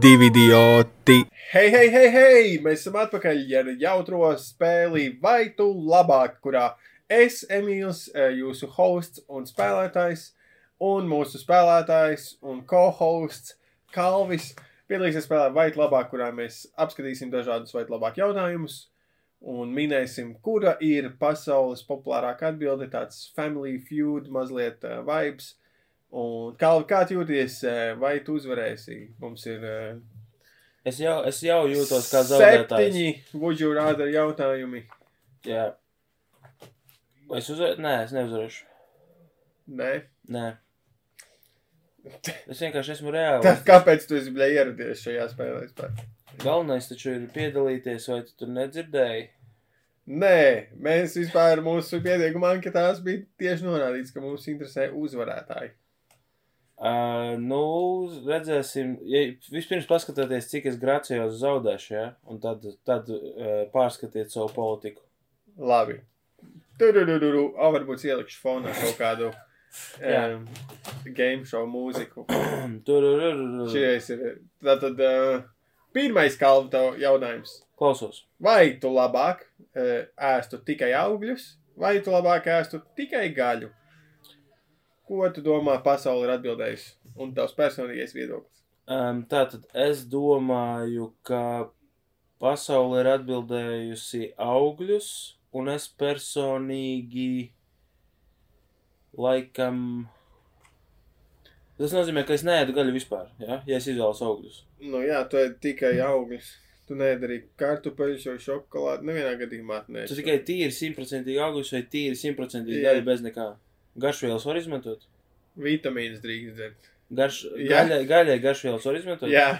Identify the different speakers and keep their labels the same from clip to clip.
Speaker 1: divi idioti.
Speaker 2: Hei, hei, hei, hei! Mēs esam atpakaļ ar jautro spēli, vai tu labāk, kurā es, Emīls, eh, jūsu hosts un spēlētājs, un mūsu spēlētājs un co-hosts Kalvis piedalīsies spēlē vai tu labāk, kurā mēs apskatīsim dažādus vai tu labāk jautājumus un minēsim, kura ir pasaules populārākā atbilde, tāds family feud mazliet eh, vibes. Un Kalvi, kā tu jūties, eh, vai tu uzvarēsi? Mums ir eh,
Speaker 3: Es jau, es jau jūtos kā zaudētājs.
Speaker 2: Septiņi Woodžu rāda ar jautājumi.
Speaker 3: Jā. Es uzvarēšu, nē, es neuzvarēšu.
Speaker 2: Nē.
Speaker 3: Nē. Es vienkārši esmu reāls.
Speaker 2: Tad kāpēc tu esi bijis ieradies šajā spēlē? vispār?
Speaker 3: Galvenais taču ir piedalīties, vai tu tur nedzirdēji.
Speaker 2: Nē, mēs vispār mūsu pieteikuma anketās bija tieši norādīts, ka mums interesē uzvarētāji.
Speaker 3: Uh, nu, redzēsim, ja vispirms paskatieties, cik es grācijos zaudēšu, ja? un tad, tad uh, pārskatiet savu politiku.
Speaker 2: Labi. Tur, tur, tur, tur, varbūt ielikšu fonā kaut kādu
Speaker 3: Jā.
Speaker 2: um, game show mūziku.
Speaker 3: Tur, tur, tur, tur.
Speaker 2: Šies ir. Tātad uh, pirmais kalva tev jautājums.
Speaker 3: Klausos.
Speaker 2: Vai tu labāk uh, ēstu tikai augļus, vai tu labāk ēstu tikai gaļu? Ko tu domā, pasaule ir atbildējusi? Un tavs personīgais viedoklis.
Speaker 3: Um, tātad es domāju, ka pasaule ir atbildējusi augļus, un es personīgi laikam. Tas nozīmē, ka es neēdu gaļu vispār, ja, ja es izvēlos augļus.
Speaker 2: Nu, jā, tu ēd tikai augļus. Tu nedarīji kartupeļus vai šokolādi. Nevienā gadījumā nē.
Speaker 3: Tas tikai tīri simtprocentīgi augļus vai tīri simtprocentīgi
Speaker 2: Jā.
Speaker 3: gaļa bez nekā. Garšvielas var izmantot.
Speaker 2: Vitamīnas drīkst dzert.
Speaker 3: Garš,
Speaker 2: Jā.
Speaker 3: gaļai, gaļai garšvielas var izmantot.
Speaker 2: Jā,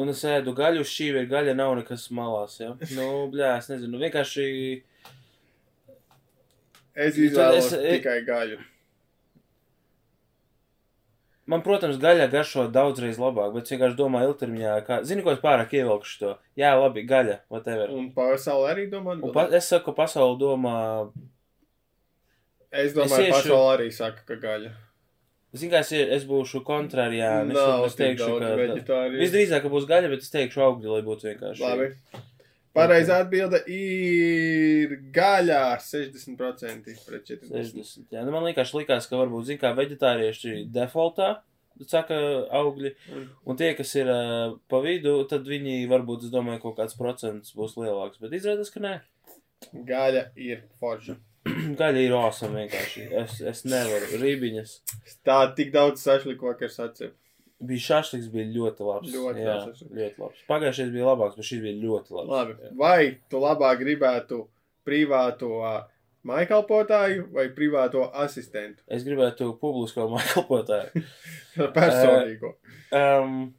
Speaker 3: Un es ēdu gaļu, šī ir gaļa, nav nekas malās. Ja? Nu, blē, es nezinu, vienkārši
Speaker 2: es
Speaker 3: Tad
Speaker 2: izvēlos
Speaker 3: es-
Speaker 2: es... tikai gaļu.
Speaker 3: Man, protams, gaļa garšo daudzreiz labāk, bet es vienkārši domāju, ilgtermiņā, kā. Zini, ko es pārāk ievilkšu to? Jā, labi, gaļa, whatever.
Speaker 2: Un pasaule arī domā.
Speaker 3: Un pa, es saku, ka pasaule domā,
Speaker 2: Es
Speaker 3: es
Speaker 2: domāju,
Speaker 3: iešu-
Speaker 2: ka pasaule arī saka, ka gaļa.
Speaker 3: zini, kā es, ie- es būšu kontrārijāns.
Speaker 2: Nav
Speaker 3: es
Speaker 2: tik
Speaker 3: teikšu,
Speaker 2: daudz
Speaker 3: ka
Speaker 2: veģetāriju.
Speaker 3: visdrīzāk ka būs gaļa, bet es teikšu augļi, lai būtu vienkārši.
Speaker 2: Labi. Pareizā atbilde ir gaļā 60% pret 40%.
Speaker 3: 60. Jā, nu, man liekas, likās, ka varbūt, zini, kā veģetārieši defaultā saka augļi,
Speaker 2: Mm.
Speaker 3: un tie, kas ir ā, pa vidu, tad viņi varbūt, es domāju, kaut kāds procents būs lielāks, bet izrādās, ka nē.
Speaker 2: Gaļa ir forša.
Speaker 3: Gaļa ir awesome vienkārši. Es, es nevaru. Rībiņas.
Speaker 2: Tā tik daudz sašliko, ka es atceru.
Speaker 3: Bija šāds, bija ļoti labs.
Speaker 2: Ļoti
Speaker 3: jā,
Speaker 2: labs.
Speaker 3: ļoti labs. Pagājušais bija labāks, bet šis bija ļoti labs.
Speaker 2: Labi.
Speaker 3: Jā.
Speaker 2: Vai tu labāk gribētu privāto ā, mājkalpotāju vai privāto asistentu?
Speaker 3: Es gribētu publisko maikalpotāju.
Speaker 2: Personīgo.
Speaker 3: Um,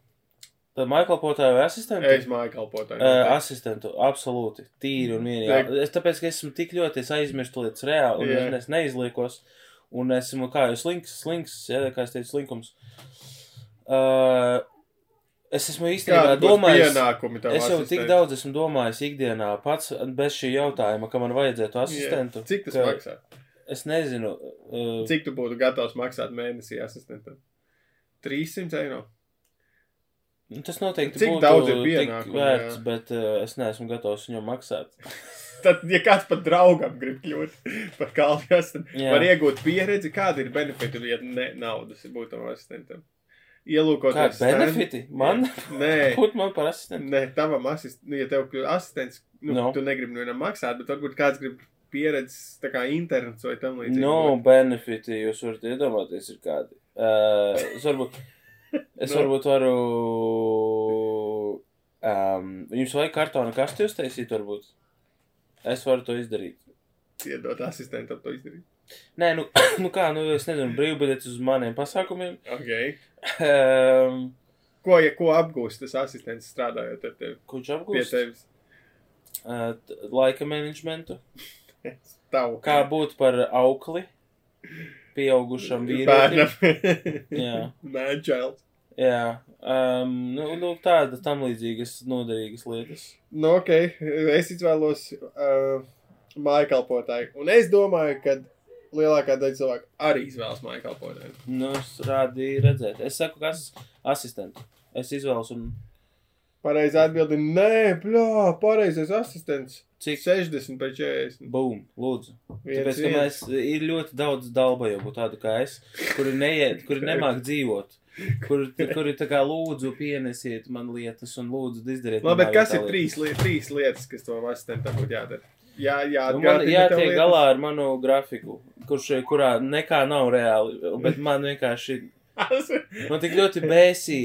Speaker 3: tad maikalpotāju vai asistentu?
Speaker 2: Es mājkalpotāju.
Speaker 3: Uh, asistentu, absolūti. Tīri un vienīgi.
Speaker 2: Tiek-
Speaker 3: Es tāpēc, ka esmu tik ļoti es aizmirstu lietas reāli, un
Speaker 2: Jā.
Speaker 3: es, es neizliekos. Un esmu, kā jau slinks, slinks, jā, kā es teicu, slinkums. Uh, es esmu īstenībā
Speaker 2: Kāda būs
Speaker 3: domājis.
Speaker 2: pienākumi tev?
Speaker 3: Es jau tik
Speaker 2: asistentam?
Speaker 3: daudz esmu domājis ikdienā pats bez šī jautājuma, ka man vajadzētu
Speaker 2: Jā.
Speaker 3: asistentu.
Speaker 2: Cik tas
Speaker 3: ka
Speaker 2: maksā?
Speaker 3: Es nezinu, uh,
Speaker 2: Cik tu būtu gatavs maksāt mēnesī asistentam? 300 eiro.
Speaker 3: nu, tas noteikti
Speaker 2: Cik
Speaker 3: būtu
Speaker 2: daudz ir
Speaker 3: tik
Speaker 2: pienākumu,
Speaker 3: vērts,
Speaker 2: jā.
Speaker 3: bet uh, es neesmu gatavs viņu maksāt.
Speaker 2: Tad, ja kāds par draugam grib kļūt par kalpijas, tad
Speaker 3: Jā.
Speaker 2: var iegūt pieredzi, kāda ir benefita, ja ne naudas būtu tam asistentam. Ielūkoties.
Speaker 3: Kādi benefiti? Man?
Speaker 2: stand- Nē,
Speaker 3: Būt man par asistentu.
Speaker 2: nē tavam asistentam, ja tev kļūst asistents, nu, no.
Speaker 3: No.
Speaker 2: tu negribi nevienam maksāt, bet varbūt kāds grib pieredzes, tā kā internets vai tam līdzīgi.
Speaker 3: No benefiti jūs varat iedomāties, ir kādi. Uh, es varbūt, es
Speaker 2: No.
Speaker 3: varbūt varu. Um, jums vajag kartona kasti uztaisīt, varbūt. Es varu to izdarīt.
Speaker 2: Iedot asistentam to izdarīt.
Speaker 3: Nē, nu, nu kā, nu, es nezinu, brīvbiļets uz maniem pasākumiem.
Speaker 2: Okay.
Speaker 3: Um,
Speaker 2: Ko, ja, ko apgūst tas asistents strādājot ar tevi?
Speaker 3: kurš
Speaker 2: Pie
Speaker 3: apgūst
Speaker 2: tevis.
Speaker 3: uh, t- laika menedžmentu?
Speaker 2: Tavu.
Speaker 3: Kā būt par aukli? Pieaugušam vīrietim.
Speaker 2: Bērnam.
Speaker 3: Jā.
Speaker 2: Man child.
Speaker 3: Jā, um, nu, nu, tādas tam līdzīgas noderīgas lietas.
Speaker 2: Nu, ok, es izvēlos uh, māju kalpotāju. Un es domāju, ka lielākā daļa cilvēku arī izvēlas mājkalpotāju.
Speaker 3: Nu, es rādīju, redzēt. Es saku, kas ir asistents. Es izvēlos, un
Speaker 2: Pareizā atbilde ir nē, plā, pareizais asistents.
Speaker 3: cik
Speaker 2: 60 pret 40.
Speaker 3: bum, lūdzu.
Speaker 2: Viens,
Speaker 3: Tāpēc, ka
Speaker 2: viens.
Speaker 3: mēs ir ļoti daudz dalbajobu tādu kā es, kuri neiet, kuri nemāk dzīvot. Kur, kur ir tā kā lūdzu, pienesiet man lietas, un lūdzu, izdariet.
Speaker 2: Labi, bet
Speaker 3: manā
Speaker 2: kas ir
Speaker 3: vietā lietas.
Speaker 2: trīs, li trīs lietas, kas tam asistentam būtu jādara? Jā, jā,
Speaker 3: Nu, Man jātiek galā ar manu grafiku, kurš, kurā nekā nav reāli, bet man vienkārši, man tik ļoti bēsī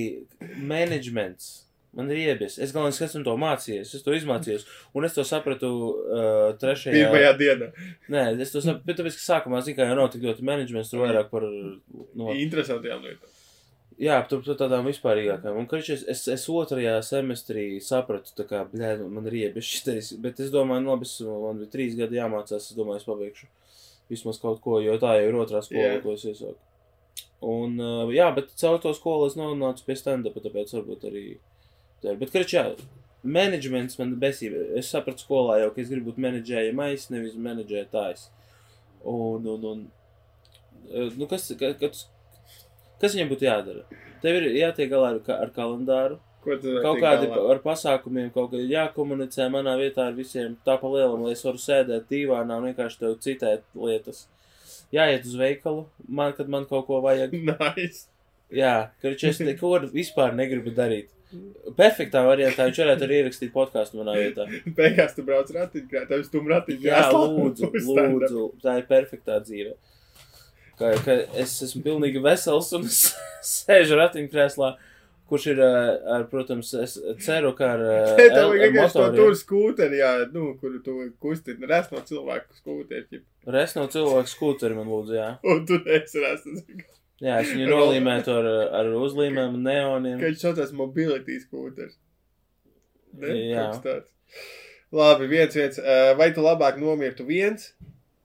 Speaker 3: menedžments, man ir iebies. Es galvenais, esmu to mācījies, es to izmācījos, un es to sapratu uh, trešajā.
Speaker 2: Pirmajā dienā.
Speaker 3: Nē, es to sapratu, bet tāpēc, ka sākumā, zinu, kā jau nav tik ļoti menedžments, tur vairāk par, nu, no,
Speaker 2: Interesantajām lietām.
Speaker 3: Jā, tur tur tādām vispārīgākām. Un, krič, es, es, es otrajā semestrī sapratu, tā kā, blē, nu, man ir iebies šitais, bet es domāju, nu, labi, es, man bija trīs gadi jāmācās, es domāju, es pabeigšu vismaz kaut ko, jo tā jau ir otrā skola,
Speaker 2: Jā.
Speaker 3: yeah. ko es iesāku. Un, uh, jā, bet caur to skolu es nonācu pie stand-upa, tāpēc varbūt arī tā ir. Bet, krič, jā, menedžments man besība. Es sapratu skolā jau, ka es gribu būt menedžējamais, nevis menedžētājs. Un, un, un, eh, nu, kas, ka- kas, kas viņam būtu jādara? Tev ir jātiek galā ar, ka- ar kalendāru,
Speaker 2: Ko tu
Speaker 3: kaut kādi pa- ar pasākumiem, kaut kādi jākomunicē manā vietā ar visiem tā pa lielam, lai es varu sēdēt dīvānā un vienkārši tev citēt lietas. Jāiet uz veikalu, man, kad man kaut ko vajag.
Speaker 2: Nice.
Speaker 3: Jā, kurš es neko vispār negribu darīt. Perfektā variantā viņš varētu arī ierakstīt podkāstu manā vietā.
Speaker 2: Beigās tu brauc ratiņkrā, tev stum ratiņkrā.
Speaker 3: Jā, lūdzu, lūdzu, tā ir perfektā dzīve. Ka, ka es esmu pilnīgi vesels un es sēžu ratiņkrēslā, kurš ir, ā, ar, protams, es ceru, ka ar, ā,
Speaker 2: Nē, tev
Speaker 3: el- ar
Speaker 2: vajag vienkārši to
Speaker 3: motoriem
Speaker 2: tur skūteri, jā, nu, kur tu kustini, rest no cilvēku skūteri,
Speaker 3: res no cilvēku skūteri man lūdzu, jā.
Speaker 2: un tu neesi rest.
Speaker 3: Jā, es viņu nolīmētu ar, ar uzlīmēm, neoniem.
Speaker 2: Kad viņš saucās mobility skūteris. Ne?
Speaker 3: Jā.
Speaker 2: Kaut kas tāds. Labi, viens, viens. Eh, Vai tu labāk nomirtu viens,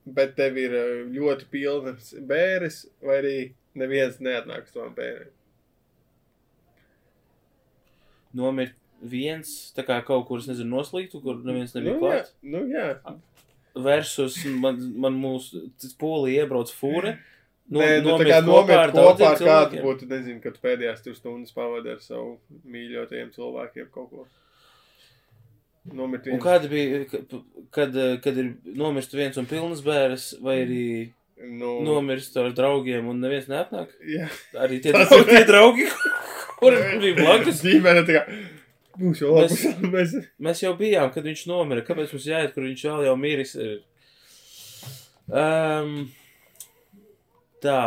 Speaker 2: bet tev ir eh, ļoti pilnas bērres, vai arī neviens neatnāks to bērnu?
Speaker 3: Nomirt viens, tā kā kaut kur, es nezinu, noslīgtu, kur neviens nebija
Speaker 2: nu, jā,
Speaker 3: klāt.
Speaker 2: nu, jā.
Speaker 3: versus man, man mūsu tas polija iebrauc fūri.
Speaker 2: Nē, nu, tā kā nomirt kopā ar kādu būtu, nezinu, kad pēdējās tur stundas pavadīja ar savu mīļotajiem cilvēkiem kaut ko. Nomirt
Speaker 3: Un
Speaker 2: viens.
Speaker 3: kāda bija, ka- kad, eh, kad ir nomirst viens un pilns bērns, vai arī
Speaker 2: Nu,
Speaker 3: nomirst ar draugiem un neviens neatnāk?
Speaker 2: jā.
Speaker 3: Arī tie,
Speaker 2: Tas ir-
Speaker 3: draugi- tie draugi, kuriem bija blakus.
Speaker 2: Ģimene tā kā. Būs jau labi. Mēs...
Speaker 3: Mēs jau bijām, kad viņš nomira. Kāpēc mums jāiet, kur viņš vēl jau miris? ir? Um, tā,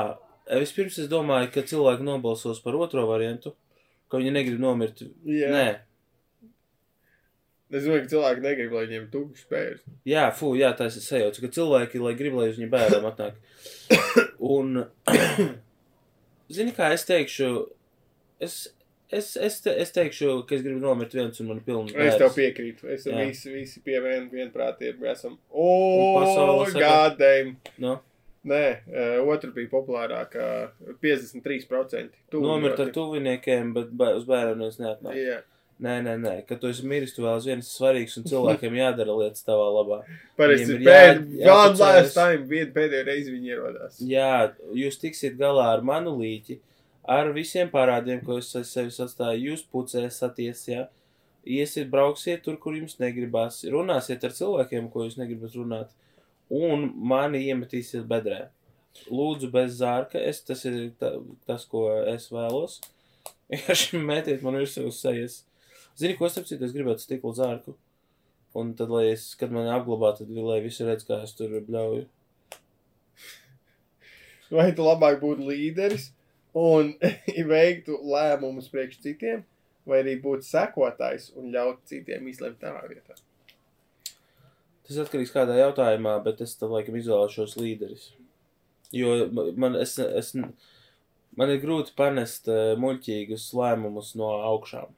Speaker 3: vispirms es domāju, ka cilvēki nobalsos par otro variantu, ka viņi negrib nomirt.
Speaker 2: Jā.
Speaker 3: Nē,
Speaker 2: Es domāju, ka cilvēki negrib, lai viņiem tukšs pēdas.
Speaker 3: Jā, fū, jā, tas ir sajauts, ka cilvēki, lai grib, lai uz viņu bērnam atnāk. Un, zini, kā es teikšu, es, es, es, te, es teikšu, ka es gribu nomirt viens un man ir pilns
Speaker 2: Es tev
Speaker 3: bērns.
Speaker 2: piekrītu. Es
Speaker 3: Jā.
Speaker 2: visi, visi pie vien, vienprātīgi esam.
Speaker 3: pasaule
Speaker 2: O,
Speaker 3: saka-
Speaker 2: gādēm!
Speaker 3: No,
Speaker 2: Nē, eh, otra bija populārākā - 53%.
Speaker 3: nomirt ar tuviniekiem, bet bē- uz bērnu neviens neatnāk.
Speaker 2: Jā.
Speaker 3: Nē, nē, nē, kad tu esi miris, tu vēl esi viens svarīgs un cilvēkiem jādara lietas tavā labā.
Speaker 2: Pareizi.
Speaker 3: Viņiem ir jā-
Speaker 2: Pēd... One
Speaker 3: jāatcerās.
Speaker 2: last time, viena pēdējā reize viņi ierodās.
Speaker 3: Jā, jūs tiksiet galā ar manu līķi, ar visiem parādiem, ko es aiz sevis atstāju. Jūs pucēsaties, jā. Iesiet, brauksiet tur, kur jums negribas. Runāsiet ar cilvēkiem, ko jūs negribat runāt. Un mani iemetīsiet bedrē. Lūdzu, bez zārka. Es, tas ir ta, tas, ko es vēlos. Vienkārši metiet man virsū uz sejas. Zini, ko es apcītu? Es gribētu stikla zārku. Un tad, lai es, kad mani apglabā, tad, lai visi redz, kā es tur bļauju.
Speaker 2: Vai tu labāk būtu līderis un veiktu lēmumus priekš citiem, vai arī būtu sekotājs un ļaut citiem izlemt tavā vietā?
Speaker 3: Tas atkarīgs no kādā jautājumā, bet es tam laikam izvēlēšos līderis. Jo ma- man, es, es, man ir grūti panest eh, muļķīgus lēmumus no augšām.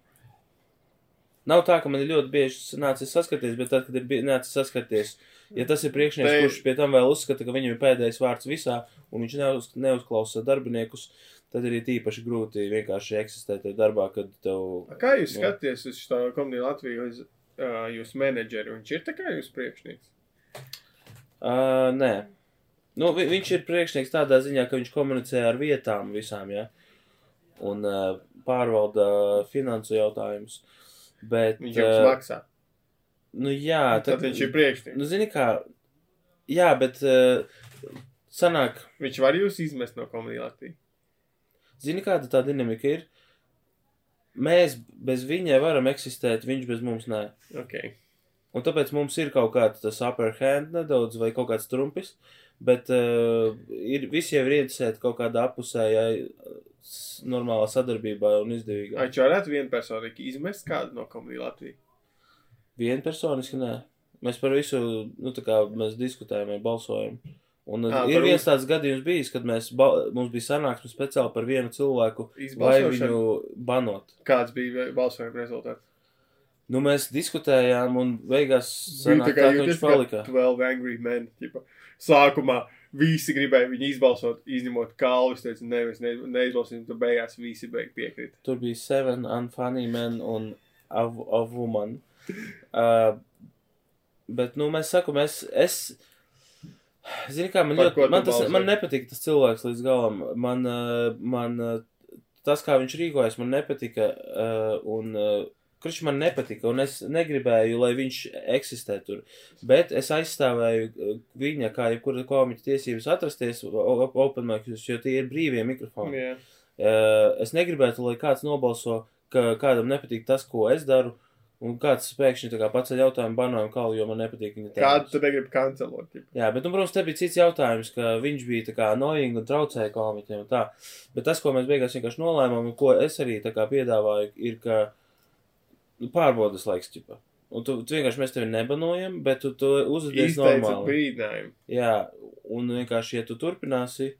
Speaker 3: Nav tā, ka man ir ļoti bieži nācis saskarties, bet tad, kad ir bie- nācis saskarties, ja tas ir priekšnieks,
Speaker 2: Te-
Speaker 3: kurš pie tam vēl uzskata, ka viņam ir pēdējais vārds visā, un viņš neuz, neuzklausa darbiniekus, tad ir it īpaši grūti vienkārši eksistēt tajā darbā, kad tev.
Speaker 2: Kā jūs
Speaker 3: Jā.
Speaker 2: skatāties uz šo komēdiju Latviju, uz uh, jūsu menedžeri? Viņš ir tā kā jūsu priekšnieks.
Speaker 3: Uh, nē, Nu, vi, viņš ir priekšnieks tādā ziņā, ka viņš komunicē ar vietām visām, ja? un uh, pārvalda finansu jautājumus. Bet,
Speaker 2: Viņš jums maksā.
Speaker 3: nu, jā,
Speaker 2: Tad viņš ir priekšnieks.
Speaker 3: Nu, zini, kā. Jā, bet. Uh, sanāk,
Speaker 2: Viņš var jūs izmest no komunitī.
Speaker 3: zini, kāda tā dinamika ir. Mēs bez viņa varam eksistēt, viņš bez mums nē.
Speaker 2: Okay.
Speaker 3: Un tāpēc mums ir kaut kāds tas upper hand nedaudz vai kaut kāds trumpis, bet uh, ir, visi jau ir interesēti kaut kādā apusējā, s- normālā sadarbībā un izdevīgā.
Speaker 2: Viņš varētu vienpersonīgi izmest kādu no komunitī.
Speaker 3: Vienpersoniski nē. Mēs par visu, nu tā kā mēs diskutējam, vai balsojam. Un
Speaker 2: Ā,
Speaker 3: Ā, ir
Speaker 2: par
Speaker 3: viens tāds gadījums bijis, kad mēs, bal- mums bija sanāksme speciāli par vienu cilvēku, lai
Speaker 2: Izbalsošana.
Speaker 3: viņu banot.
Speaker 2: Kāds bija balsojuma rezultāts?
Speaker 3: Nu, mēs diskutējām, un beigās
Speaker 2: Bija
Speaker 3: sanāk, tā, ka
Speaker 2: jūties
Speaker 3: viņš
Speaker 2: kā
Speaker 3: palika.
Speaker 2: 12 angry men. Tipa. Sākumā visi gribēja viņu izbalsot, izņemot Kalvis. Viņš teica, ne, mēs ne- neizbalsosim, tad beigās visi beig piekrīt.
Speaker 3: Tur bija Seven, Unfunny Man un Av- Av Woman. Uh, bet, nu, mēs sakām, es. es Zini, kā man
Speaker 2: Par ko
Speaker 3: ļoti.
Speaker 2: tu
Speaker 3: Man, tas,
Speaker 2: balsoji?
Speaker 3: man nepatīk tas cilvēks līdz galam. Man, uh, man uh, tas, kā viņš rīkojas, man nepatika. Uh, un, uh, Kurš man nepatika, un es negribēju, lai viņš eksistē tur. Bet es aizstāvēju uh, viņa, kā jebkura komiķa tiesības atrasties o- o- open micros, jo tie ir brīvie mikrofoni.
Speaker 2: Jā.
Speaker 3: Eh, es negribētu, lai kāds nobalso, ka kādam nepatīk tas, ko es daru, un kāds pēkšņi tā kā pats ar jautājumu banojumu kalu, jo man nepatīk
Speaker 2: Kādu
Speaker 3: viņa tēmas.
Speaker 2: tad negribu kancelot? Tipa.
Speaker 3: Jā, bet, nu, protams, te bija cits jautājums, ka viņš bija tā kā annoying un traucēja komiķiem un tā. Bet tas, ko mēs beigās vienkārši nolēmām, un ko es arī tā kā piedāvāju, ir, ka nu, pārbaudas laiks, tipa. Un tu, tu vienkārši mēs tevi nebanojam, bet tu, tu uzvedies
Speaker 2: Izteica
Speaker 3: normāli.
Speaker 2: brīdinājumu.
Speaker 3: Jā, un vienkārši, ja tu turpināsi,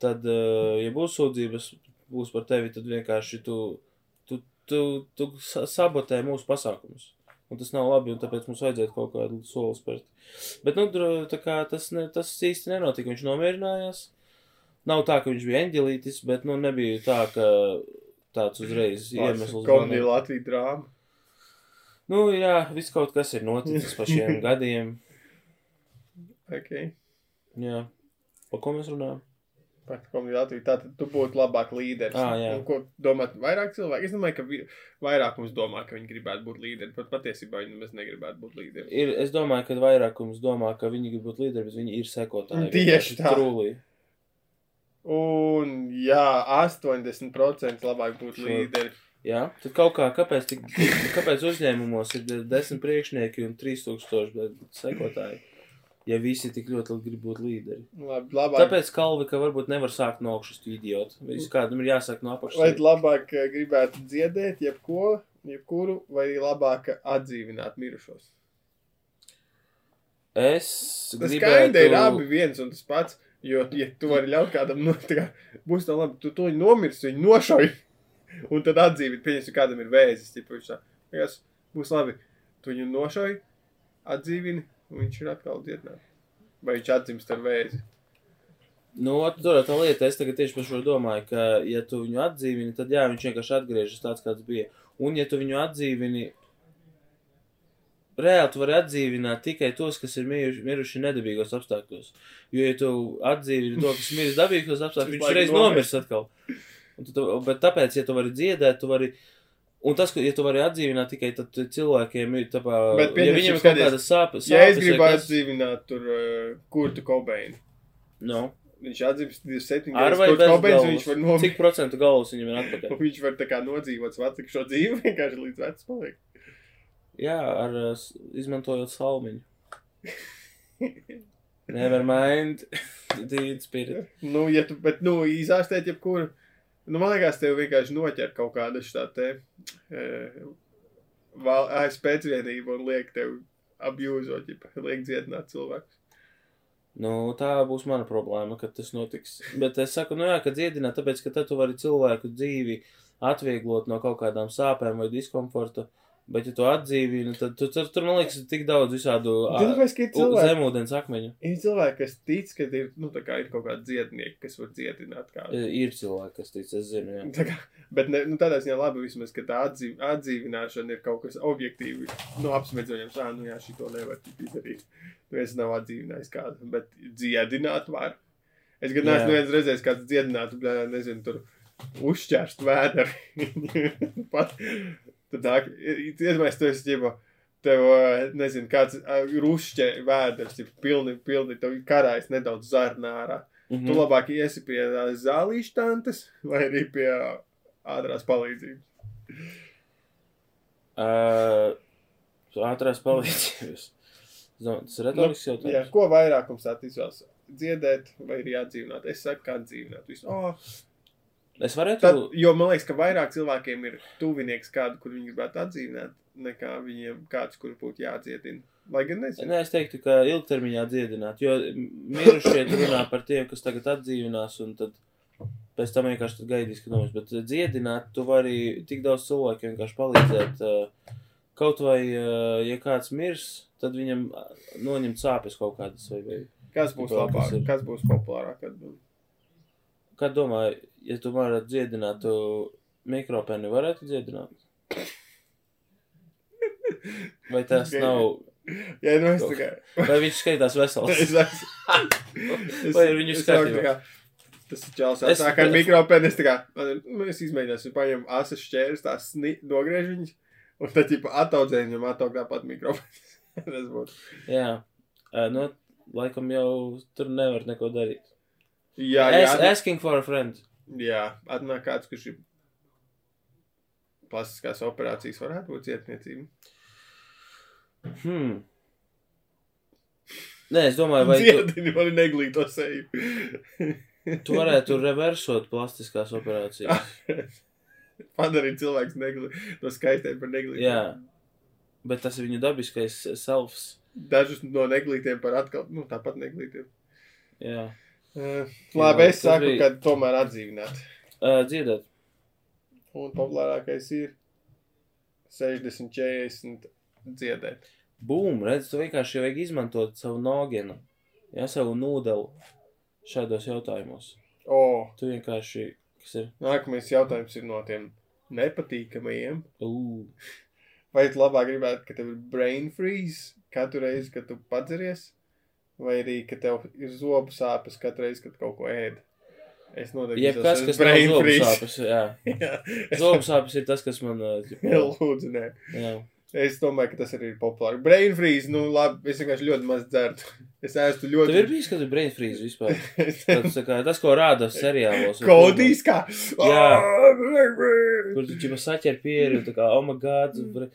Speaker 3: tad, eh, ja būs sūdzības, būs par tevi, tad vienkārši tu, tu, tu, tu sa- sabotē mūsu pasākumus. Un tas nav labi, un tāpēc mums vajadzētu kaut kādu soli spērt. Bet, nu, dro- tā kā tas, ne, tas īsti nenotika. Viņš nomierinājās. Nav tā, ka viņš bija eņģelītis, bet, nu, nebija tā, ka tāds uzreiz iemesls.
Speaker 2: Komēdija
Speaker 3: bija.
Speaker 2: Latvijas drāma.
Speaker 3: Nu, jā, viss kaut kas ir noticis pa šiem gadiem.
Speaker 2: Okay.
Speaker 3: Jā. Par ko mēs runājam?
Speaker 2: Par komēdiju Latviju. Tātad tu būtu labāk līderis.
Speaker 3: Ā, Ah, jā.
Speaker 2: Un ko domāt vairāk cilvēki? Es domāju, ka vi- vairākums domā, ka viņi gribētu būt līderi, bet patiesībā viņi nemaz negribētu būt līderi.
Speaker 3: Ir, es domāju, ka vairākums domā, ka viņi grib būt līderi, bet viņi ir sekotāji.
Speaker 2: Tieši tā.
Speaker 3: Trūlī.
Speaker 2: Un jā, 80% labāk būt
Speaker 3: Sure.
Speaker 2: līderi.
Speaker 3: Jā, tad kaut kā, kāpēc, tik, kāpēc uzņēmumos ir de- desmit priekšnieki un 3000 be- sekotāji, ja visi tik ļoti grib būt līderi?
Speaker 2: Labi, labāk
Speaker 3: Tāpēc kalvi, ka varbūt nevar sākt no augšas, tu idioti. Viss kādam ir jāsāk no
Speaker 2: Vai
Speaker 3: apakšas.
Speaker 2: labāk eh, gribētu dziedēt, jebko, jebkuru, vai labāk atdzīvināt mirušos?
Speaker 3: Es
Speaker 2: Tas skaidri ir abi
Speaker 3: gribēju.
Speaker 2: viens un tas pats. Jo, ja tu vari ļaut kādam, no, tā kā, būs tā labi, tu to nomirsi, viņu nošauj. Un tad atdzīvi, pieņemsim, kādam ir vēzis. Tipa, viņš tā, vienkārši būs labi, tu viņu nošauj, atdzīvini, un viņš ir atkal dziedināts. Vai viņš atdzimst ar vēzi?
Speaker 3: Nu, ot, tur ir tā lieta, es tagad tieši par šo domāju, ka, ja tu viņu atdzīvini, tad jā, viņš vienkārši atgriežas tāds, kāds bija. Un, ja tu viņu atdzīvini, reāli tu vari atdzīvināt tikai tos, kas ir miruši, miruši nedabīgos apstākļos. Jo, ja tu atdzīvini to, kas miris dabīgos apstākļos,
Speaker 2: Viņš
Speaker 3: viņš
Speaker 2: laikam
Speaker 3: reiz
Speaker 2: nomirs.
Speaker 3: nomirs atkal. Un Tu, tā- bet tāpēc, ja tu vari dziedāt, tu vari. Un tas, ka, ja tu vari atdzīvināt tikai tad tu- cilvēkiem, ir tā kā.
Speaker 2: Bet
Speaker 3: ja
Speaker 2: pieņemsim,
Speaker 3: viņiem ir kaut
Speaker 2: skaties,
Speaker 3: kādas sāpes,
Speaker 2: Ja es
Speaker 3: sāpes vai
Speaker 2: gribu
Speaker 3: kas-
Speaker 2: atdzīvināt tur uh, kurtu kobeinu,
Speaker 3: Nu,
Speaker 2: viņš atdzimst 27
Speaker 3: ar
Speaker 2: gadus,
Speaker 3: vai
Speaker 2: kurtu kobeins, un
Speaker 3: bez
Speaker 2: viņš var
Speaker 3: galvas.
Speaker 2: nomirt.
Speaker 3: Cik procentu galvas viņam ir atpakaļ?
Speaker 2: Un viņš var tā kā nodzīvot savu atlikušo dzīvi, vienkārši līdz vecam paliek.
Speaker 3: Jā, ar uh, s- izmantojot salmiņu. Never mind. Dīdz spirit.
Speaker 2: Nu, ja tu, bet, nu, izārstēt jebkuru. Nu, man liekas, tev vienkārši noķer kaut kāda šitā te eh, val- eh, spēcvienība un liek tev abjūzot, ja liek dziedināt cilvēku.
Speaker 3: Nu, tā būs mana problēma, kad tas notiks. Bet es saku, nu jā, ka dziedināt, tāpēc, ka tad tu vari cilvēku dzīvi atvieglot no kaut kādām sāpēm vai diskomforta, Bet, ja tu atdzīvini, nu, tad tu, tur, tur, man liekas, ir tik daudz visādu
Speaker 2: Zini,
Speaker 3: ā,
Speaker 2: kāpēc, ka ir
Speaker 3: u-
Speaker 2: cilvēki,
Speaker 3: zemūdens akmeņu.
Speaker 2: ir cilvēki, kas tic, ka ir, nu, tā kā ir kaut kāda dziednieka, kas var dziedināt kādu.
Speaker 3: E, Ir cilvēki, kas tic, es zinu, jā.
Speaker 2: Tā kā, bet ne, nu, tādā ziņā labi vismaz, ka tā atdzīv, atdzīvināšana ir kaut kas objektīvi. Nu, apsmedzējams, ah, nu jā, šī to nevar tik izdarīt. Nu, es nav atdzīvinājis kādu, bet dziedināt var. Es gan
Speaker 3: Jā.
Speaker 2: neesmu viens reizes kāds dziedinātu, bļā, nezinu, tur uzšķērst vēderi. Pat, tad nāk, iedomājies, tu esi ģipa. Tev, eh, nezinu, kāds rušķē vēders, ir pilni, pilni, tev karājas nedaudz zarnā ārā. Tu
Speaker 3: Mhm.
Speaker 2: labāk iesi pie ā, zālīšu tantes vai arī pie ā, ātrās palīdzības.
Speaker 3: Ā, Ātrās palīdzības. Es domāju, Tas ir retorisks
Speaker 2: Nu, Jā,
Speaker 3: jautājums.
Speaker 2: ko vairākums tā izvēlas? Dziedēt, vai ir jādzīvināt? Es saku, kā dzīvināt. Visu. Oh,
Speaker 3: Es
Speaker 2: tad,
Speaker 3: varētu.
Speaker 2: jo man liekas, ka vairāk cilvēkiem ir tuvinieks kādu, kur viņi gribētu atdzīvināt, nekā viņiem kāds, kur būtu jādziedina. Lai gan nezinu.
Speaker 3: Nē, es teiktu, ka ilgtermiņā dziedināt, jo mirušie tur runā par tiem, kas tagad atdzīvinās, un tad pēc tam vienkārši tad gaidīs, ka nomirst. Bet eh, dziedināt, tu vari tik daudz cilvēku vienkārši palīdzēt. eh, Kaut vai, eh, ja kāds mirs, tad viņam eh, noņemt sāpes kaut kādas. Vai, vai.
Speaker 2: Kas būs
Speaker 3: Kaut kas
Speaker 2: labāk,
Speaker 3: ir.
Speaker 2: kas būs populārāk? atbild.
Speaker 3: Kā domā, ja tu varētu dziedināt, tu mikropēni varētu dziedināt? Vai tas nav?
Speaker 2: Jā, nu es tikai.
Speaker 3: Vai viņš skaitās
Speaker 2: Es
Speaker 3: vesels?
Speaker 2: esmu.
Speaker 3: Vai ir viņu skatījumā?
Speaker 2: Tas ir čels,
Speaker 3: Es-
Speaker 2: es tā kā ar mikropēnu, es tā kā, man- nu, es izmēģināšu, paņem asas šķērs, tā sni, nogriež viņus, un tad, tipa, ataudzē viņam ataug tāpat mikropēnu. Tas būtu.
Speaker 3: Jā, Ā, nu, laikam jau tur nevar neko darīt.
Speaker 2: Jā, nu- jā,
Speaker 3: Es
Speaker 2: es,
Speaker 3: asking for a friend.
Speaker 2: jā, atnāk kāds, kurš ir plastiskās operācijas varētu būt cietniecība.
Speaker 3: Hmm. Nē, es domāju, vai tu,
Speaker 2: Cietini mani neglīto seju.
Speaker 3: tu varētu reversot plastiskās operācijas.
Speaker 2: Padarīt cilvēks negli, to skaistēt par neglītu.
Speaker 3: Jā. Bet tas ir viņu dabiskais selfs.
Speaker 2: Dažus no neglītiem par atkal, nu, tāpat neglītiem.
Speaker 3: Jā.
Speaker 2: Eh, Labi, es
Speaker 3: tas
Speaker 2: saku,
Speaker 3: bija-
Speaker 2: ka tomēr atdzīvināt.
Speaker 3: Uh, dziedāt.
Speaker 2: Un populārākais ir 60, 40 dziedēt.
Speaker 3: Boom, redz, tu vienkārši vajag izmantot savu noginu, jā, savu nūdelu šādos jautājumos.
Speaker 2: O,
Speaker 3: Tu vienkārši, kas ir,
Speaker 2: nākamais jautājums ir no tiem nepatīkamajiem.
Speaker 3: ū,
Speaker 2: Vai tu labāk gribētu, ka tev ir brain freeze katru reizi, kad tu padzeries, vai arī, ka tev ir zobu sāpes katru reizi, kad kaut ko ēd? Es noteikti
Speaker 3: jebkas,
Speaker 2: esmu
Speaker 3: kas nav zobsāpes, jā.
Speaker 2: Jā, es
Speaker 3: Zobsāpes ir tas, kas man, ā, ķipa,
Speaker 2: lūdzu, nē.
Speaker 3: jā.
Speaker 2: Es domāju, ka tas arī ir populāri. Brain freeze, nu labi, es vienkārši ļoti maz dzertu. Es ēstu ļoti.
Speaker 3: Tev ir bijis, kad ir brain freeze vispār.
Speaker 2: Es-
Speaker 3: Tāds, tā kā, tas, ko rāda seriālos. un
Speaker 2: Kodijs kā. Ah,
Speaker 3: Jā. filmās,
Speaker 2: Jā.
Speaker 3: Kur tu ķipa saķer pieru, tā kā, oh my god, bre-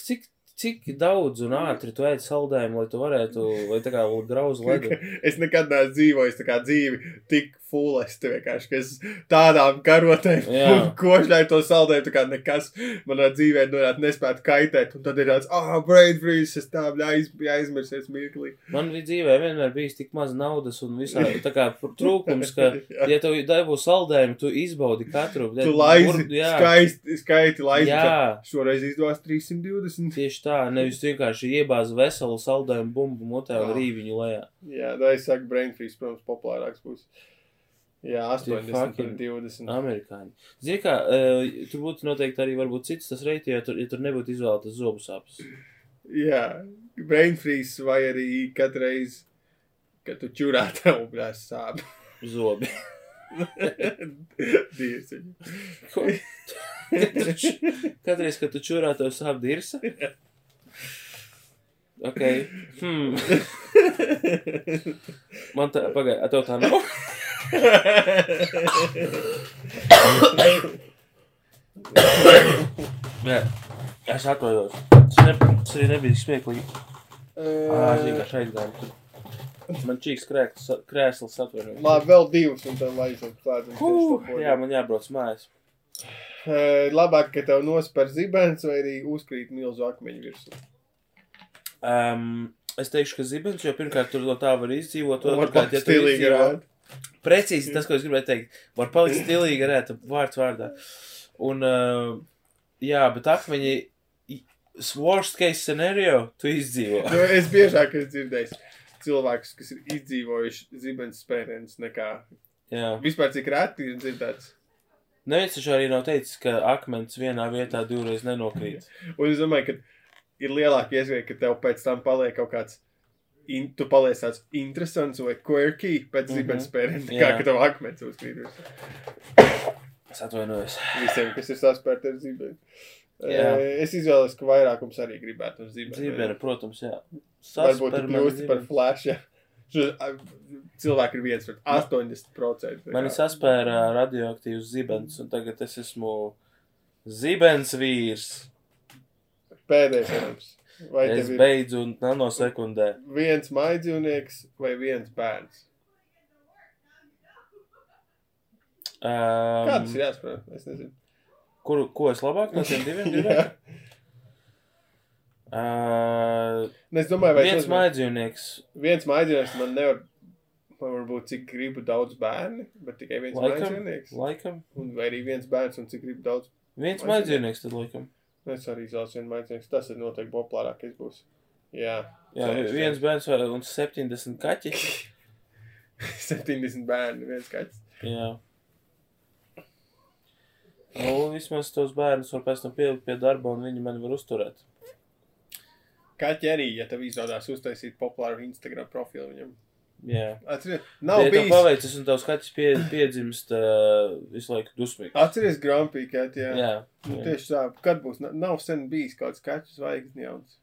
Speaker 3: cik, cik daudz un ātri tu ēd saldējumu, lai tu varētu, vai tā kā grauzu ledu.
Speaker 2: Es nekad neesmu dzīvojis tā kā dzīvi tik fulesti vienkārši, ka es tādām karotēm
Speaker 3: Jā.
Speaker 2: un košļai to saldēju, tā kā nekas manā dzīvē norāt nespētu kaitēt. Un tad ir tāds, ah, oh, brain freeze, es tā jāiz, jāizmirsies mirklī.
Speaker 3: Man bija dzīvē vienmēr bijis tik maz naudas un visā tā kā pr- trūkums, ka,
Speaker 2: Jā.
Speaker 3: ja tev dabū saldējumu, tu izbaudi katru.
Speaker 2: Tu laizi,
Speaker 3: Bur- jā,
Speaker 2: skaisti, skaisti laizi. tā,
Speaker 3: jā,
Speaker 2: Šoreiz izdevās 320.
Speaker 3: tieši tā, nevis vienkārši iebāz veselu saldējumu bumbu mutē un
Speaker 2: Ah.
Speaker 3: rīviņu lejā.
Speaker 2: Jā, tā es saku, brain freeze, protams, populārāks būs. Jā, 80,
Speaker 3: fucking-
Speaker 2: 20.
Speaker 3: Amerikāņi. Zini, kā, e, tur būtu noteikti arī varbūt cits tas reiti, ja tur, ja tur nebūtu izvēlētas zobu sāpes.
Speaker 2: Jā, brain freeze vai arī katreiz, kad tu čurā tev blēs sāp.
Speaker 3: Zobi.
Speaker 2: Dievs. viņu.
Speaker 3: Ko? Kad tu ču- Katreiz, kad tu čurā, tev sāp dirsa. Ok. Hmm. Man tā, pagaidi, a, tev tā nav. Jā, es atvainojos. Tas, ne, tas arī nebija smieklīgi. Jā, vienkārši aizgāju. Man čīks krēks, krēsls atvainojos.
Speaker 2: Labi, vēl divas, un tad laižam klāt.
Speaker 3: Jā, man jābrauc mājās.
Speaker 2: Labāk, ka tev nospēr zibens vai arī uzkrīt milzu akmeņu virsū.
Speaker 3: Um, es teikšu, ka zibens, jo pirmkārt tur no tā var izdzīvot.
Speaker 2: Labāk
Speaker 3: Otrkārt, ja tu
Speaker 2: stilīgi
Speaker 3: izdzīvo,
Speaker 2: rāda.
Speaker 3: precīzi tas, ko es gribēju teikt. Var palikt stilīgi, rēta vārds vārdā. Un, uh, jā, bet akmeņi, worst case scenario tu izdzīvo.
Speaker 2: Nu, es biežāk esmu dzirdējis cilvēkus, kas ir izdzīvojuši zibens spērienus nekā
Speaker 3: Jā.
Speaker 2: vispār cik reti ir dzirdēts.
Speaker 3: Neviens taču arī nav teicis, ka akmens vienā vietā divreiz nenokrīt.
Speaker 2: Un es domāju, ka ir lielāka iespēja, ka tev pēc tam paliek kaut kāds. In, tu paliec tāds interesants vai quirky pēc
Speaker 3: Mhm.
Speaker 2: zibens spērieniem, kā
Speaker 3: Jā.
Speaker 2: ka tev akmens uzkrītas.
Speaker 3: Es atvainojos.
Speaker 2: Visiem, kas ir saspērti ar zibeni.
Speaker 3: Jā.
Speaker 2: Eh, Es izvēlos, ka vairākums arī gribētu uz zibeni.
Speaker 3: Zibene, protams, jā.
Speaker 2: Varbūt tu
Speaker 3: Saspermeni
Speaker 2: kļūsti par
Speaker 3: zibeni.
Speaker 2: flash. Ja. Šo, a, cilvēki ir viens pret 80%.
Speaker 3: Mani saspēra radioaktīvs zibens, un tagad es esmu zibens vīrs.
Speaker 2: Pēdējais jautājums. Vai
Speaker 3: Es
Speaker 2: tev ir
Speaker 3: beidzu un nanosekundē.
Speaker 2: viens maidzīvnieks vai viens bērns?
Speaker 3: Um,
Speaker 2: Kādas ir jāsprot? Es nezinu.
Speaker 3: Kuru, ko es labāk no tiem diviem gribēju?
Speaker 2: Jā.
Speaker 3: Uh,
Speaker 2: Nu, Es domāju, vai
Speaker 3: viens
Speaker 2: tas man-
Speaker 3: maidzīvnieks.
Speaker 2: viens maidzīvnieks man nevar. Man var būt cik gribu daudz bērnu, bet tikai viens
Speaker 3: Laikam.
Speaker 2: maidzīvnieks.
Speaker 3: Laikam.
Speaker 2: Un vai arī viens bērns un cik gribu daudz.
Speaker 3: Viens
Speaker 2: Maidzīvnieks.
Speaker 3: maidzīvnieks tad laikam.
Speaker 2: Nu, Es arī izlasu vienu maidzīvnieku. Tas ir noteikti populārākais būs. Jā.
Speaker 3: Jā,
Speaker 2: Ceru,
Speaker 3: viens bērns vai- un 70 kaķi.
Speaker 2: 70 bērnu, viens kaķis.
Speaker 3: Jā. Nu, vismaz tos bērnus var pēc tam pielikt pie darba, un viņi mani var uzturēt.
Speaker 2: Kaķi arī, ja tev izdodas uztaisīt populāru Instagram profilu viņam.
Speaker 3: Jā,
Speaker 2: Atceries,
Speaker 3: tā
Speaker 2: nav
Speaker 3: ir
Speaker 2: bijis.
Speaker 3: paveicis, un tavs skats pie, piedzimst uh, visu laiku dusmīgi.
Speaker 2: Atceries Grumpy Cat, Ah, jā. jā.
Speaker 3: Jā,
Speaker 2: Nu,
Speaker 3: jā.
Speaker 2: tieši tā, kad būs, na- nav sen bijis kāds kaķis zvaigznes jauns.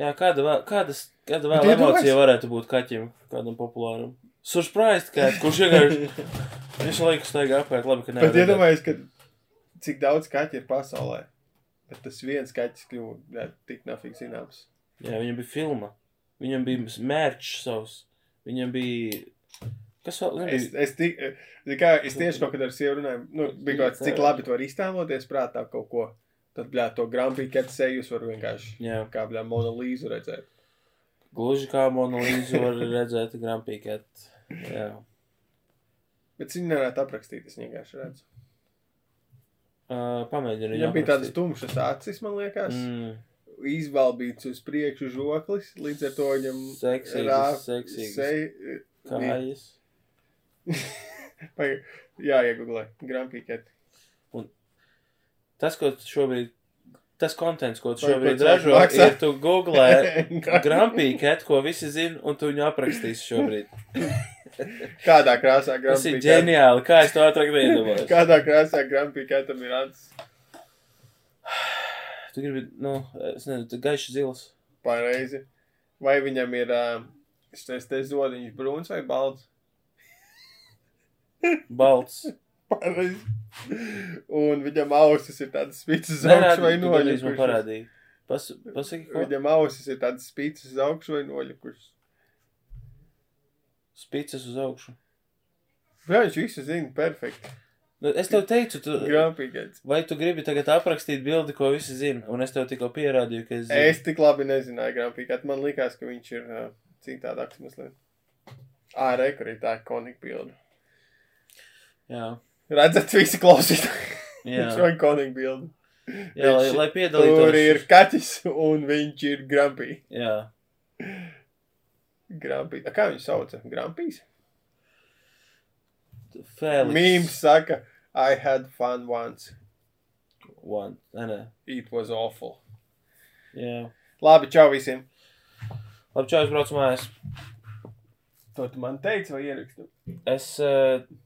Speaker 3: jā kāda, vēl- kādas, kāda vēl
Speaker 2: Bet iedomājies-
Speaker 3: emocija varētu būt kaķim, kādam populāram? Surprise, cat, kurš vienkārši visu laiku staigā apkārt, labi, ka
Speaker 2: Bet
Speaker 3: nevienam.
Speaker 2: iedomājies, ka cik daudz kaķi ir pasaulē. Bet tas viens kaķis kļuva jā, tik nafīgi zināms.
Speaker 3: Jā, viņam bija filma, viņam bija mērķis savs, viņam bija. Kas vēl? Viņam
Speaker 2: Es,
Speaker 3: bija...
Speaker 2: es, tik, zini kā, es tieši kaut kad ar sievu runāju, nu, bija kaut kāds, cik labi tu vari iztēloties prātā kaut ko. Tad, bļā, to Grumpy Cat sejus var vienkārši
Speaker 3: Jā.
Speaker 2: kā, bļā, Mona Līzu redzēt.
Speaker 3: Gluži kā monolīzu var redzēt grampīkēt. Jā.
Speaker 2: Bet viņi nevarētu aprakstīt, es vienkārši redzu.
Speaker 3: Uh, Pamēģinu.
Speaker 2: Viņam bija tādas tumšas acis, man liekas, mm.
Speaker 3: Mm,
Speaker 2: izbalbīts uz priekšu žoklis, līdz ar to viņam
Speaker 3: Seksīgas,
Speaker 2: rā-
Speaker 3: seksīgas.
Speaker 2: sei-
Speaker 3: kājas.
Speaker 2: Vai- Jā, iegūlē, grampīķēt.
Speaker 3: Tas, ko tu šobrīd, tas kontents, ko tu
Speaker 2: Vai
Speaker 3: šobrīd
Speaker 2: pēc
Speaker 3: ražo,
Speaker 2: maksā?
Speaker 3: ir tu googlē grampīkēt, ko visi zina, un tu viņu aprakstīsi šobrīd.
Speaker 2: Kādā krāsā
Speaker 3: Tas ir
Speaker 2: grampīķēt?
Speaker 3: ģeniāli, kā es to ātrāk iedomājos.
Speaker 2: Kādā krāsā grampīķētam ir acis?
Speaker 3: Tu gribi, nu, es nezinu, tu gaiši zils.
Speaker 2: Pareizi. Vai viņam ir ā, šis te zodiņš brūns vai balts?
Speaker 3: Balts.
Speaker 2: Pareizi. Un viņam ausis ir tādas spīdus uz augšu vai
Speaker 3: Nerādi, tu gandrīz man
Speaker 2: noļukušas.
Speaker 3: parādīji. Pas, pasaki, ko?
Speaker 2: Viņam ausis ir tādas spīdus uz augšu vai noļukušas.
Speaker 3: Spīces uz augšu.
Speaker 2: Jā, viņš visu zina perfekti.
Speaker 3: Nu, es tev teicu, tu...
Speaker 2: Grampīgais.
Speaker 3: Vai tu gribi tagad aprakstīt bildi, ko visi zina? Un es tev tikko pierādīju, ka es zinu.
Speaker 2: Es tik labi nezināju, grampīgais. Man likās, ka viņš ir uh, citādāks mazliet. Ā, re, kur ir tā konika bilde.
Speaker 3: Jā,
Speaker 2: Redzat, visi klausītāji.
Speaker 3: jā.
Speaker 2: Viņš ir konika bilde.
Speaker 3: jā lai,
Speaker 2: viņš-
Speaker 3: lai piedalītos.
Speaker 2: Tur ir kaķis un viņš ir grampī.
Speaker 3: Jā,
Speaker 2: Grampī. A, Kā viņš sauca? Grampīs?
Speaker 3: Fēliks.
Speaker 2: Mīms saka, I had fun once.
Speaker 3: One. Nē, nē.
Speaker 2: It was awful.
Speaker 3: Jā.
Speaker 2: Labi, čau visiem.
Speaker 3: Labi, čau, es braucu mājās.
Speaker 2: To tu man teici vai ierakstu?
Speaker 3: Es uh,